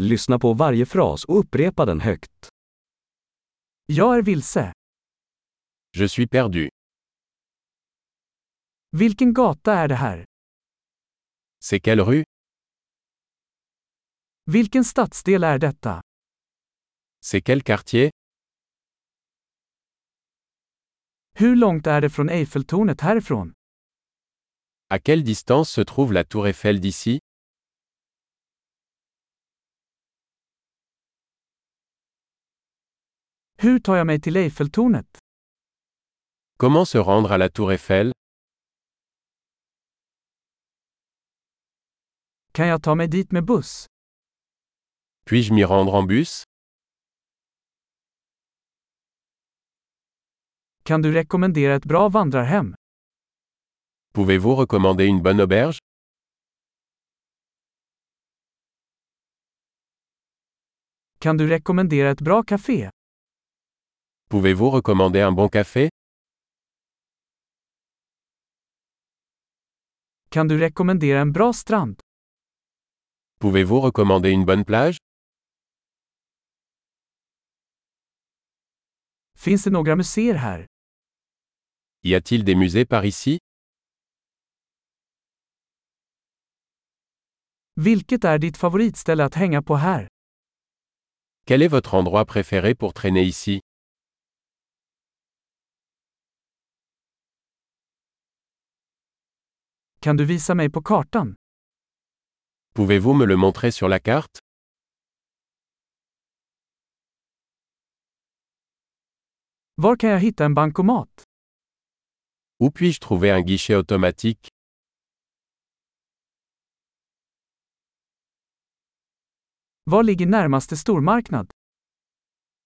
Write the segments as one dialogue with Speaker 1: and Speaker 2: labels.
Speaker 1: Lyssna på varje fras och upprepa den högt.
Speaker 2: Jag är vilse.
Speaker 3: Je suis perdu.
Speaker 2: Vilken gata är det här?
Speaker 3: C'est quelle rue
Speaker 2: Vilken stadsdel är detta?
Speaker 3: C'est quel quartier
Speaker 2: Hur långt är det från Eiffeltornet härifrån?
Speaker 3: À quelle distance se trouve la tour Eiffel d'ici
Speaker 2: Hur tar jag mig till Eiffeltornet?
Speaker 3: Comment se rendre à la tour Eiffel
Speaker 2: Kan jag ta mig dit med buss?
Speaker 3: Puis-je m'y rendre en bus
Speaker 2: Kan du rekommendera ett bra vandrarhem?
Speaker 3: Pouvez-vous recommander une bonne auberge
Speaker 2: Kan du rekommendera ett bra café?
Speaker 3: Pouvez-vous recommander un bon café
Speaker 2: Kan du rekommendera en bra strand?
Speaker 3: Pouvez-vous recommander une bonne plage
Speaker 2: Finns det några museer här?
Speaker 3: Y a-t-il des musées par ici
Speaker 2: Vilket är ditt favoritställe att hänga på här?
Speaker 3: Quel est votre endroit préféré pour traîner ici
Speaker 2: Kan du visa mig på kartan?
Speaker 3: Pouvez-vous me le montrer sur la carte
Speaker 2: Var kan jag hitta en bankomat?
Speaker 3: Où puis-je trouver un guichet automatique
Speaker 2: Var ligger närmaste stormarknad?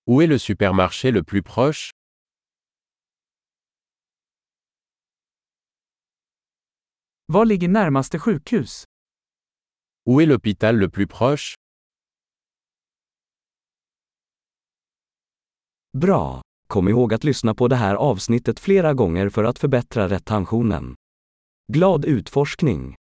Speaker 3: Où est le supermarché le plus proche
Speaker 2: Var ligger närmaste sjukhus?
Speaker 3: Où est l'hôpital le plus proche
Speaker 1: Bra! Kom ihåg att lyssna på det här avsnittet flera gånger för att förbättra retentionen. Glad utforskning!